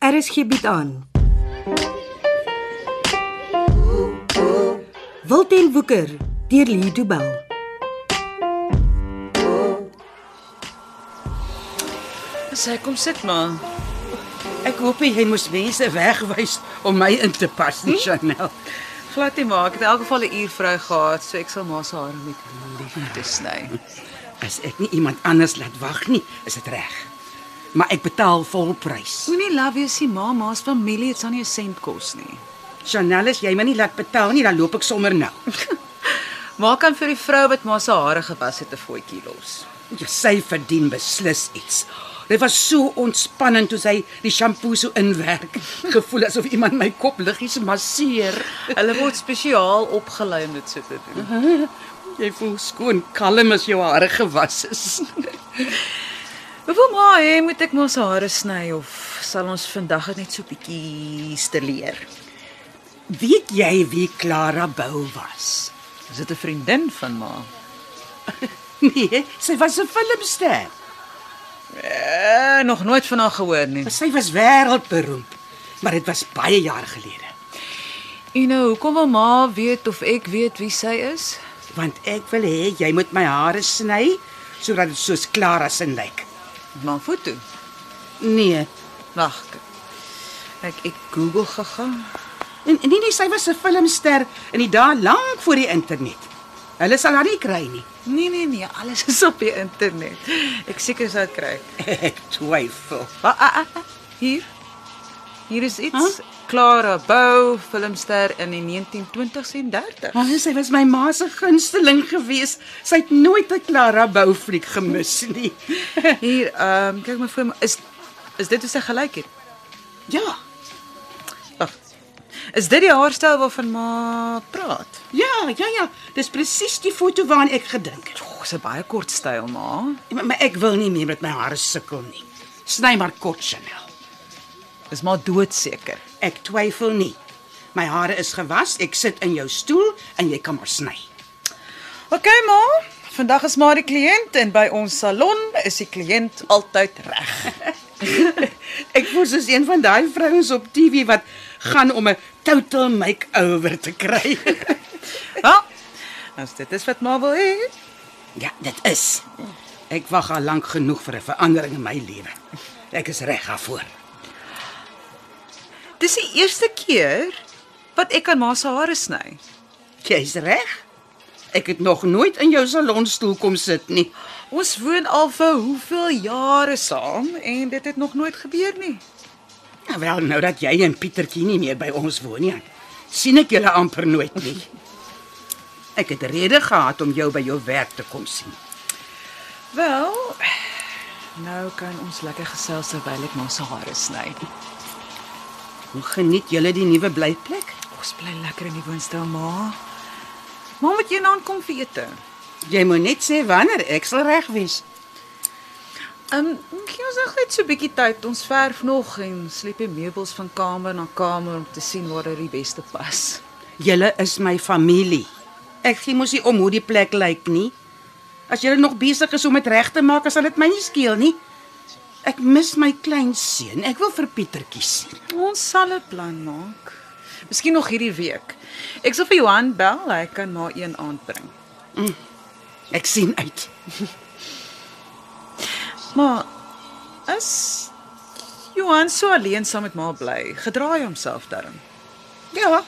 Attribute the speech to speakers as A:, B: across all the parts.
A: RSG bied Er aan. Wilten Woeker deur Lee Du Bell.
B: Sê kom sit maar. Ek hoop nie jy moes mense wegwys om my in te pas nie, Chanel.
C: Glad nie maar, ek het in elk geval 'n uur vry gehad, so ek sal maar se hare met liefde te sny.
B: As ek nie iemand anders laat wag nie, is dit reg. Maar ek betaal volprys.
C: Moenie love you sien ma, ma's familie, dit sal nie 'n sent kos nie.
B: Chanel, as jy my nie laat betaal nie, dan loop ek sommer nou.
C: Ma kan vir die vrou wat ma se hare gewas het 'n voetjie los.
B: Ja, Sy verdien beslis iets. Dit was so ontspannend toe sy die shampoo so inwerk. Gevoel asof iemand my kop liggies masseer.
C: Hulle word spesiaal opgelei om dit so te doen.
B: Jy voel skoon kalm as jou hare gewas is.
C: Hoeveel ma hê moet ek ma se hare sny of sal ons vandag dit net so bietjie sterleer?
B: Weet jy wie Clara Bou was?
C: Is dit 'n vriendin van ma?
B: Nee, sy was 'n filmster.
C: Eh, nog nooit van haar gehoor nie.
B: Sy was wêreldberoemd, maar dit was baie jare gelede.
C: En nou, hoekom wil ma weet of ek weet wie sy is?
B: Want ek wil hê jy moet my hare sny sodat dit soos Clara se lyk.
C: Maar foto.
B: Nee,
C: Wag. Ek ek Google gegaan.
B: en en nee nee, sy was 'n filmster in die dae lank voor die internet. Hulle sal haar nie kry nie.
C: Nee nee nee, alles is op die internet. Ek seker sou dit kry.
B: Ek twyfel.
C: Ah, ah, ah, ah, hier. Hier is iets. Huh? Clara Bow, filmster in die 1920s en 30s.
B: Maar Ah, sy was my ma se gunsteling gewees. Sy het nooit 'n Clara Bow fliek gemis nie.
C: Hier, ehm um, kyk my voor my is is dit hoe sy gelyk het?
B: ja,
C: Wag. Is dit die haarstyl waarvan ma praat?
B: ja, ja, ja. Dis presies die foto waaraan ek gedink het.
C: Oh, sy baie kort styl, ma.
B: Maar, maar ek wil nie meer met my hare sukkel nie. Sny maar kort, Chanel.
C: Is maar doodseker.
B: Ek twyfel nie. My hare is gewas. Ek sit in jou stoel en jy kan maar sny.
C: OK ma, vandag is maar die kliënt en by ons salon is die kliënt altyd reg.
B: Ek voel soos een van daai vrouens op TV wat gaan om 'n total makeover te kry.
C: Ja. As dit is wat ma wil hê.
B: ja, dit is. Ek wag al lank genoeg vir 'n verandering in my lewe. Ek is reg daarvoor.
C: Dis die eerste keer wat ek aan ma se hare sny.
B: Jy's reg. Ek het nog nooit in jou salonstoel kom sit nie.
C: Ons woon al vir hoeveel jare saam en dit het nog nooit gebeur nie.
B: Nou wel, nou dat jy en Pietertjie nie meer by ons woon nie, sien ek julle amper nooit nie. Ek het rede gehad om jou by jou werk te kom sien.
C: Wel, nou kan ons lekker gesels terwyl ek ma se hare sny.
B: Hoe geniet julle die nuwe blyplek?
C: Ons bly lekker in die woonstel ma. Ma moet jy nou aankom vir ete.
B: Jy moet net sê wanneer ek sal reg wees.
C: Ehm, um, gee ons nog net so 'n bietjie tyd. Ons verf nog en sleep die meubels van kamer na kamer om te sien waar dit die beste pas.
B: Julle is my familie. Ek gee mos nie om hoe die plek lyk nie. As julle nog besig is om dit reg te maak, sal dit my nie skeel nie. Ek mis my kleinseun. Ek wil vir Pietertjie sien.
C: Ons sal 'n plan maak. Miskien nog hierdie week. Ek sal vir Johan bel, hy kan maar een aand bring.
B: Ek sien uit.
C: Maar as Johan so alleen saam met ma bly, gedra hy homself daarin.
B: Ja.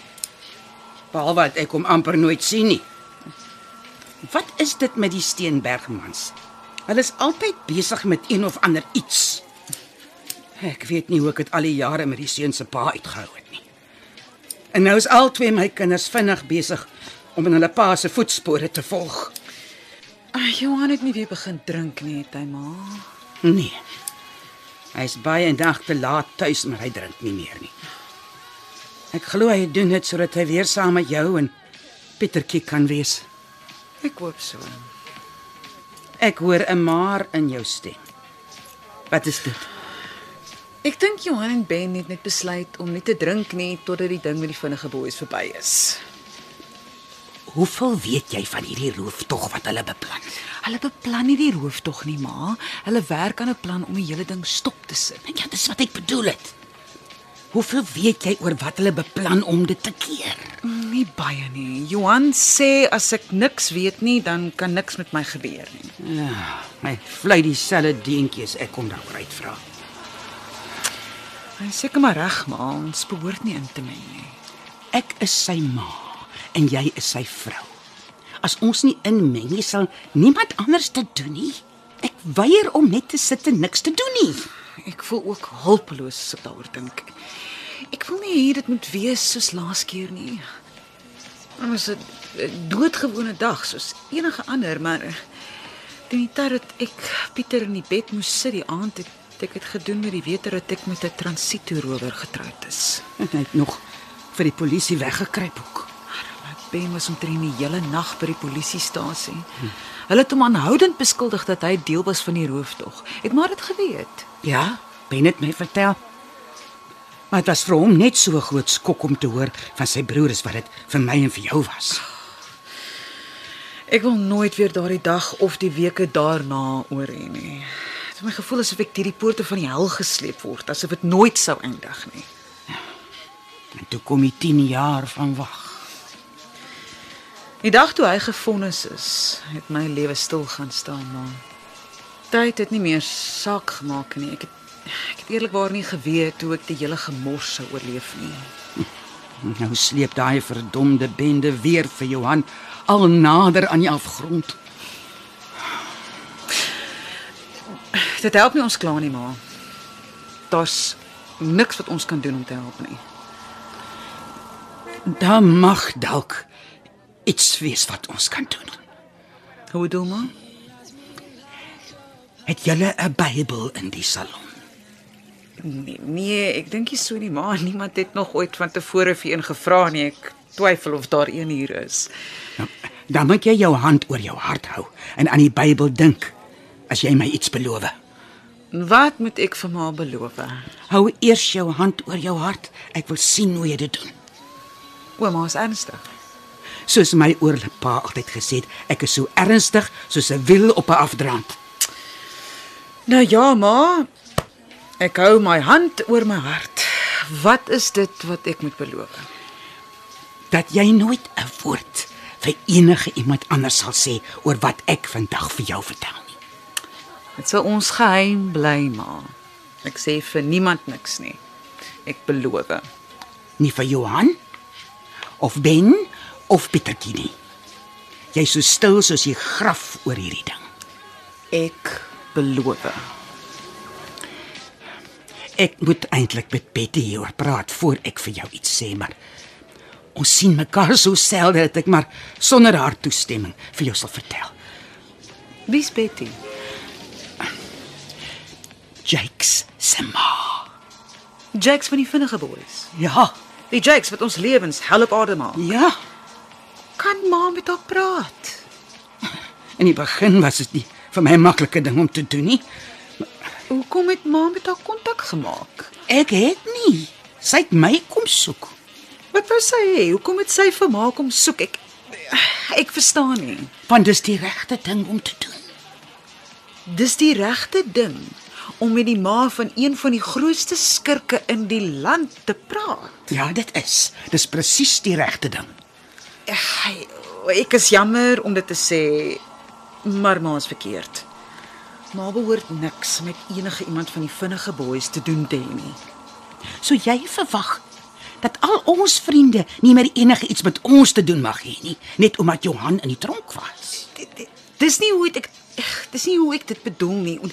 B: Behalwe dat ek hom amper nooit sien nie. Wat is dit met die Steenbergmans? Hulle is altyd besig met een of ander iets. Ek weet nie hoe ek dit al die jare met die seun se pa uitgehou het nie. En nou is al twee my kinders vinnig besig om in hulle pa se voetspore te volg.
C: Ag, Johan het nie weer begin drink nie, het hy ma.
B: Nee. Hy's baie en dag te laat tuis, maar hy drink nie meer nie. Ek glo hy doen dit sodat hy weer saam met jou en Pietertjie kan wees.
C: Ek hoop so.
B: Ek hoor 'n maar in jou stem. Wat is dit?
C: Ek dink Johan en Ben het net besluit om nie te drink nie totdat die ding met die vinnige boeis verby is.
B: Hoeveel weet jy van hierdie rooftog wat hulle beplan?
C: Hulle beplan nie die rooftog nie, ma. Hulle werk aan 'n plan om die hele ding stop te sit.
B: Ja, dis wat ek bedoel het. Hoeveel weet jy oor wat hulle beplan om dit te keer?
C: Nie baie nie. Johan sê as ek niks weet nie, dan kan niks met my gebeur nie.
B: Ja, my vlei dieselfde deentjies ek kom daaroor uitvra.
C: Hy is seker maar reg, maar ons behoort nie in te meng nie.
B: Ek is sy ma en jy is sy vrou. As ons nie inmeng nie, sal niemand anders dit doen nie. Ek weier om net te sit en niks te doen nie.
C: Ek voel ook hulpeloos as ek daaroor dink. Ek wil nie hier dit moet wees soos laas keer nie. Ons het 'n doodgewone dag soos enige ander, maar eh, teen die tyd dat ek Pieter in die bed moes sit die aand het ek dit gedoen met die wete dat ek met 'n transitorower getroud is.
B: En hy het nog vir die polisie weggekruip ook.
C: Maar Ben was omtrent die hele nag by die polisiestasie. Hulle het hom aanhoudend beskuldig dat hy deel was van die rooftog. Het maar dit geweet.
B: Ja, Ben het my vertel. Maar dit was vir hom net so 'n groot skok om te hoor van sy broer as wat dit vir my en vir jou was.
C: Ek wil nooit weer daardie dag of die weke daarna oor hê nie. Dit het my gevoel asof ek deur die poorte van die hel gesleep word, asof dit nooit sou eindig nie.
B: En toe kom die 10 jaar van wag.
C: Die dag toe hy gefonnis is, het my lewe stil gaan staan, maar tyd het nie meer saak gemaak nie. Ek het ek het eerlikwaar nie geweet hoe ek die hele gemors sou oorleef nie.
B: En Nou sleep daai verdomde bende weer vir Johan al nader aan die afgrond.
C: Dit help nie ons kla nie, maar daar's niks wat ons kan doen om te help nie.
B: Dan mag dalk iets wees wat ons kan doen.
C: Hoe bedoel maar?
B: Het julle 'n Bybel in die salon?
C: Nee, nee, ek dink nie so nie, maar niemand het nog ooit van tevore vir een gevra nie. Ek twyfel of daar een hier is.
B: Nou, dan moet jy jou hand oor jou hart hou en aan die Bybel dink as jy my iets beloof.
C: Wat moet ek vir ma beloof?
B: Hou eers jou hand oor jou hart. Ek wil sien hoe jy dit doen.
C: Ouma is ernstig.
B: Soos my oorle pa altyd gesê het, ek is so ernstig soos 'n wiel op 'n afdraand.
C: Nou ja, ma. Ek hou my hand oor my hart. Wat is dit wat ek moet beloof?
B: Dat jy nooit 'n woord vir enige iemand anders sal sê oor wat ek vandag vir jou vertel nie.
C: Dit sal ons geheim bly, ma. Ek sê vir niemand niks nie. Ek beloof.
B: Nie vir Johan of Ben of Pietertjie nie. Jy's so stil soos die graf oor hierdie ding.
C: Ek beloof.
B: Ek moet eintlik met Betty hieroor praat voor ek vir jou iets sê, maar ons sien mekaar so selde dat ek maar sonder haar toestemming vir jou sal vertel.
C: Wie's Betty?
B: Jake's se ma.
C: Jakes van die vinnige boeis.
B: Ja,
C: Die Jakes wat ons lewens hel op aarde maak.
B: ja.
C: Kan ma met haar praat?
B: In die begin was dit nie vir my 'n maklike ding om te doen nie.
C: Hoekom het ma met haar kontak gemaak?
B: Ek het nie. Sy het my kom soek.
C: Wat wou sy hê? Hoekom het sy vir ma kom soek? Ek ek verstaan nie.
B: Want dis die regte ding om te doen.
C: Dis die regte ding om met die ma van een van die grootste skurke in die land te praat.
B: Ja, dit is. Dis presies die regte ding.
C: Ek, ek is jammer om dit te sê, maar ma is verkeerd. Ma behoort niks met enige iemand van die vinnige boeis te doen te hê nie.
B: So jy verwag dat al ons vriende nie meer enige iets met ons te doen mag hê nie, net omdat Johan in die tronk was.
C: Dit- dit- Dis nie hoe ek ek- dis nie hoe ek dit bedoel nie. On,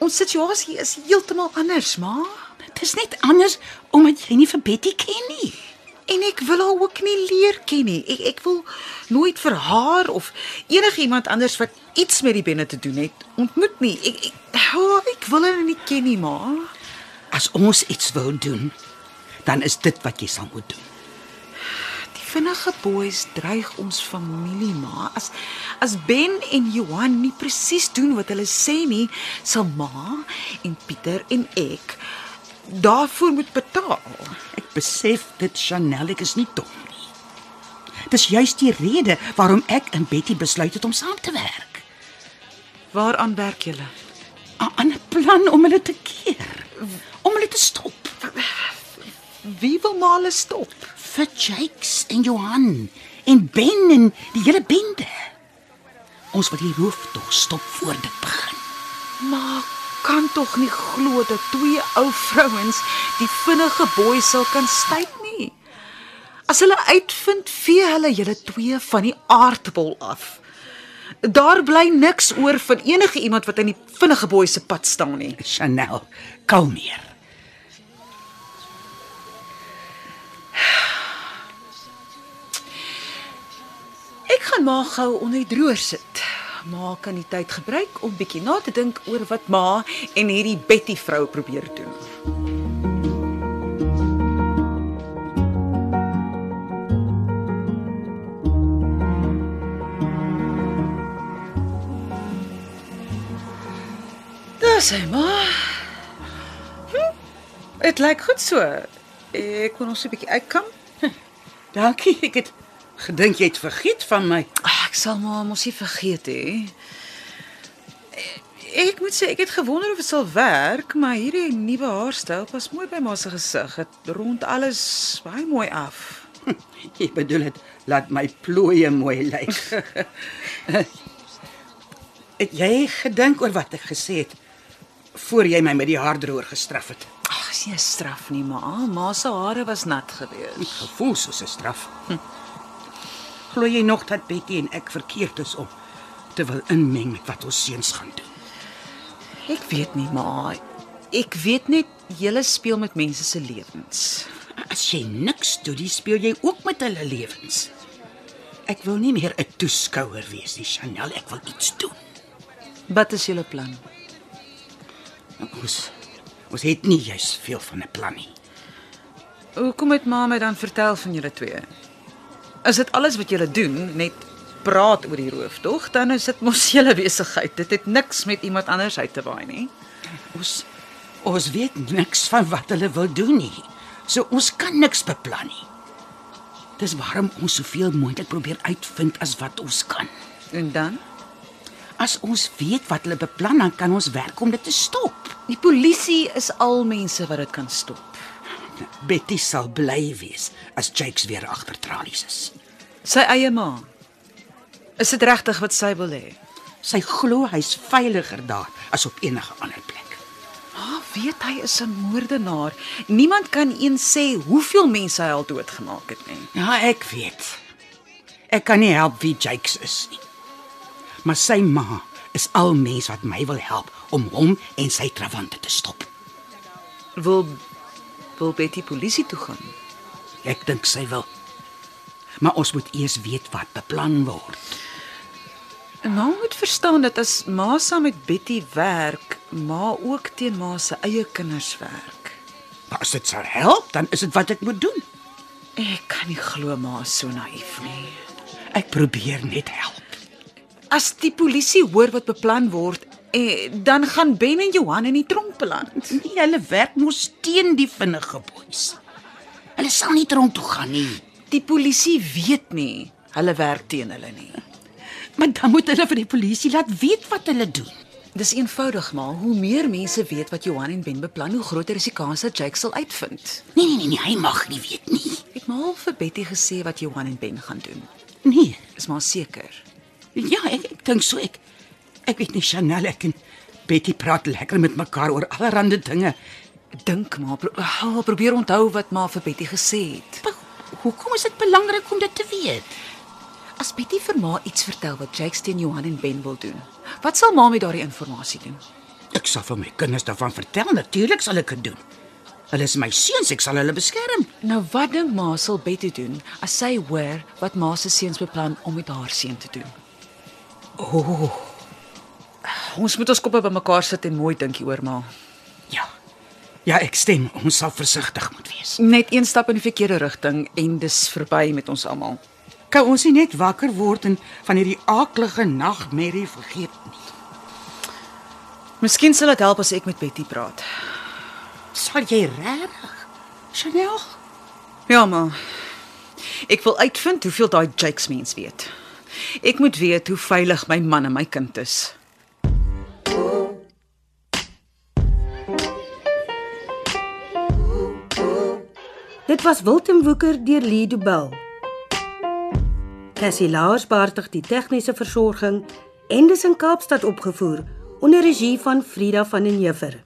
C: ons situasie is heeltemal anders, ma.
B: Dis net anders omdat jy nie vir Betty ken nie.
C: En ek wil haar ook nie leer ken nie. Ek ek wil nooit vir haar of enigiemand anders wat iets met die binne te doen het ontmoet nie. Ek ek, oh, ek wil haar nie ken nie, ma.
B: As ons iets wil doen, dan is dit wat jy sal moet doen.
C: Die vinnige boeis dreig ons familie, ma. As as Ben en Johan nie presies doen wat hulle sê nie, sal ma en Pieter en ek daarvoor moet betaal.
B: Ek besef dit Chanel, ek is nie dom nie. Dis juist die rede waarom ek en Betty besluit het om saam te werk.
C: Waaraan werk julle?
B: 'n Ander plan om hulle te keer, om hulle te stop.
C: Wie wil maar hulle stop?
B: vir Jakes en Johan en Ben en die hele bende. Ons wil die roof tog stop voor dit begin.
C: Maar kan tog nie glo dat twee ou vrouens die vinnige boei sal kan styg nie. As hulle uitvind vee hulle julle twee van die aardbol af. Daar bly niks oor van enige iemand wat in die vinnige boei se pad staan nie.
B: Chanel, kalmeer.
C: Ek gaan maar gou onder die droër sit. Ma kan die tyd gebruik om bietjie na te dink oor wat ma en hierdie Betty vrou probeer doen. Dis hy maar. Dit hm, lyk goed so. Ek kon ons 'n bietjie uitkom.
B: Dankie, ek het gedink jy het vergeet van my.
C: Ag, ek sal maar mos nie vergeet hè. Ek moet sê ek het gewonder of dit sal werk, maar hierdie nuwe haarstyl pas mooi by ma se gesig. Dit rond alles baie mooi af.
B: Hm, Jy bedoel dit laat my plooie mooi lyk. het jy gedink oor wat ek gesê het voor jy my met die haardroër gestraf het?
C: Ag, is nie 'n straf nie, ma. Ma se hare was nat gewees.
B: Gevoel soos 'n straf. Hm. Glo jy nog dat Betty en ek verkeerd is om te wil inmeng met wat ons seuns gaan doen?
C: Ek weet nie, ma. Ek weet net jy speel met mense se lewens.
B: As jy niks doen, dan speel jy ook met hulle lewens. Ek wil nie meer 'n toeskouer wees nie, Chanel, ek wil iets doen.
C: Wat is julle plan?
B: Ons ons het nie juis veel van 'n plan nie.
C: Hoekom het ma my dan vertel van julle twee? Is dit alles wat julle doen, net praat oor die roof, tog? Dan is dit mos julle besigheid. Dit het niks met iemand anders uit te waai nie.
B: Ons ons weet niks van wat hulle wil doen nie. So ons kan niks beplan nie. Dis waarom ons soveel moontlik probeer uitvind as wat ons kan.
C: En dan?
B: As ons weet wat hulle beplan, dan kan ons werk om dit te stop.
C: Die polisie is al mense wat dit kan stop.
B: Betty sal bly wees as Jakes weer agter tralies is.
C: Sy eie ma. Is dit regtig wat sy wil hê?
B: Sy glo hy's veiliger daar as op enige ander plek.
C: Ma weet hy is 'n moordenaar. Niemand kan eens sê hoeveel mense hy al doodgemaak het nie.
B: Ja, ek weet. Ek kan nie help wie Jakes is nie. Maar sy ma is al mens wat my wil help om hom en sy trawante te stop.
C: Wil wil Betty polisie toe gaan?
B: Ek dink sy wil. Maar ons moet eers weet wat beplan word.
C: Ma moet verstaan dat as ma saam met Betty werk, ma ook teen ma se eie kinders werk.
B: Maar as dit sal help, dan is dit wat ek moet doen.
C: Ek kan nie glo ma is so naïef nie.
B: Ek probeer net help.
C: As die polisie hoor wat beplan word, eh, dan gaan Ben en Johan in die tronk beland.
B: Nee, hulle werk mos teen die vinnige boeis. Hulle sal nie tronk toe gaan nie.
C: Die polisie weet nie hulle werk teen hulle nie.
B: Maar dan moet hulle vir die polisie laat weet wat hulle doen.
C: Dis eenvoudig maar, hoe meer mense weet wat Johan en Ben beplan, hoe groter is die kans dat Jake sal uitvind.
B: Nee nee nee, nee hy mag nie weet nie.
C: Ek het maar al vir Betty gesê wat Johan en Ben gaan doen.
B: Nee.
C: Is maar seker.
B: Ja, ek, ek dink so ek. Ek weet nie Chanel ek en Betty praat lekker met mekaar oor allerlei dinge.
C: Dink maar, pro oh, probeer onthou wat ma vir Betty gesê het.
B: Maar hoekom is dit belangrik om dit te weet?
C: As Betty vir ma iets vertel wat Jakes teen Johan en Ben wil doen, wat sal ma met daardie inligting doen?
B: Ek sal vir my kinders daarvan vertel, natuurlik sal ek dit doen. Hulle is my seuns, ek sal hulle beskerm.
C: Nou wat dink ma sal Betty doen as sy hoor wat ma se seuns beplan om met haar seun te doen? Oh. Ons moet ons koppe bymekaar sit en mooi dink hieroor ma.
B: Ja. Ja, ek stem. Ons sal versigtig moet wees.
C: Net een stap in die verkeerde rigting en dis verby met ons almal.
B: Kan ons nie net wakker word en van hierdie aaklige nagmerrie vergeet nie.
C: Miskien sal dit help as ek met Betty praat.
B: Sal jy regtig? Chanel?
C: Ja, maar ek wil uitvind hoeveel daai Jakes mens weet. Ek moet weet hoe veilig my man en my kind is.
A: Dit was Wilten Woeker deur Lee Du Bell. Cassie Lars beheerdig die tegniese versorging en dis in Kaapstad opgevoer onder regie van Frida van den Heever.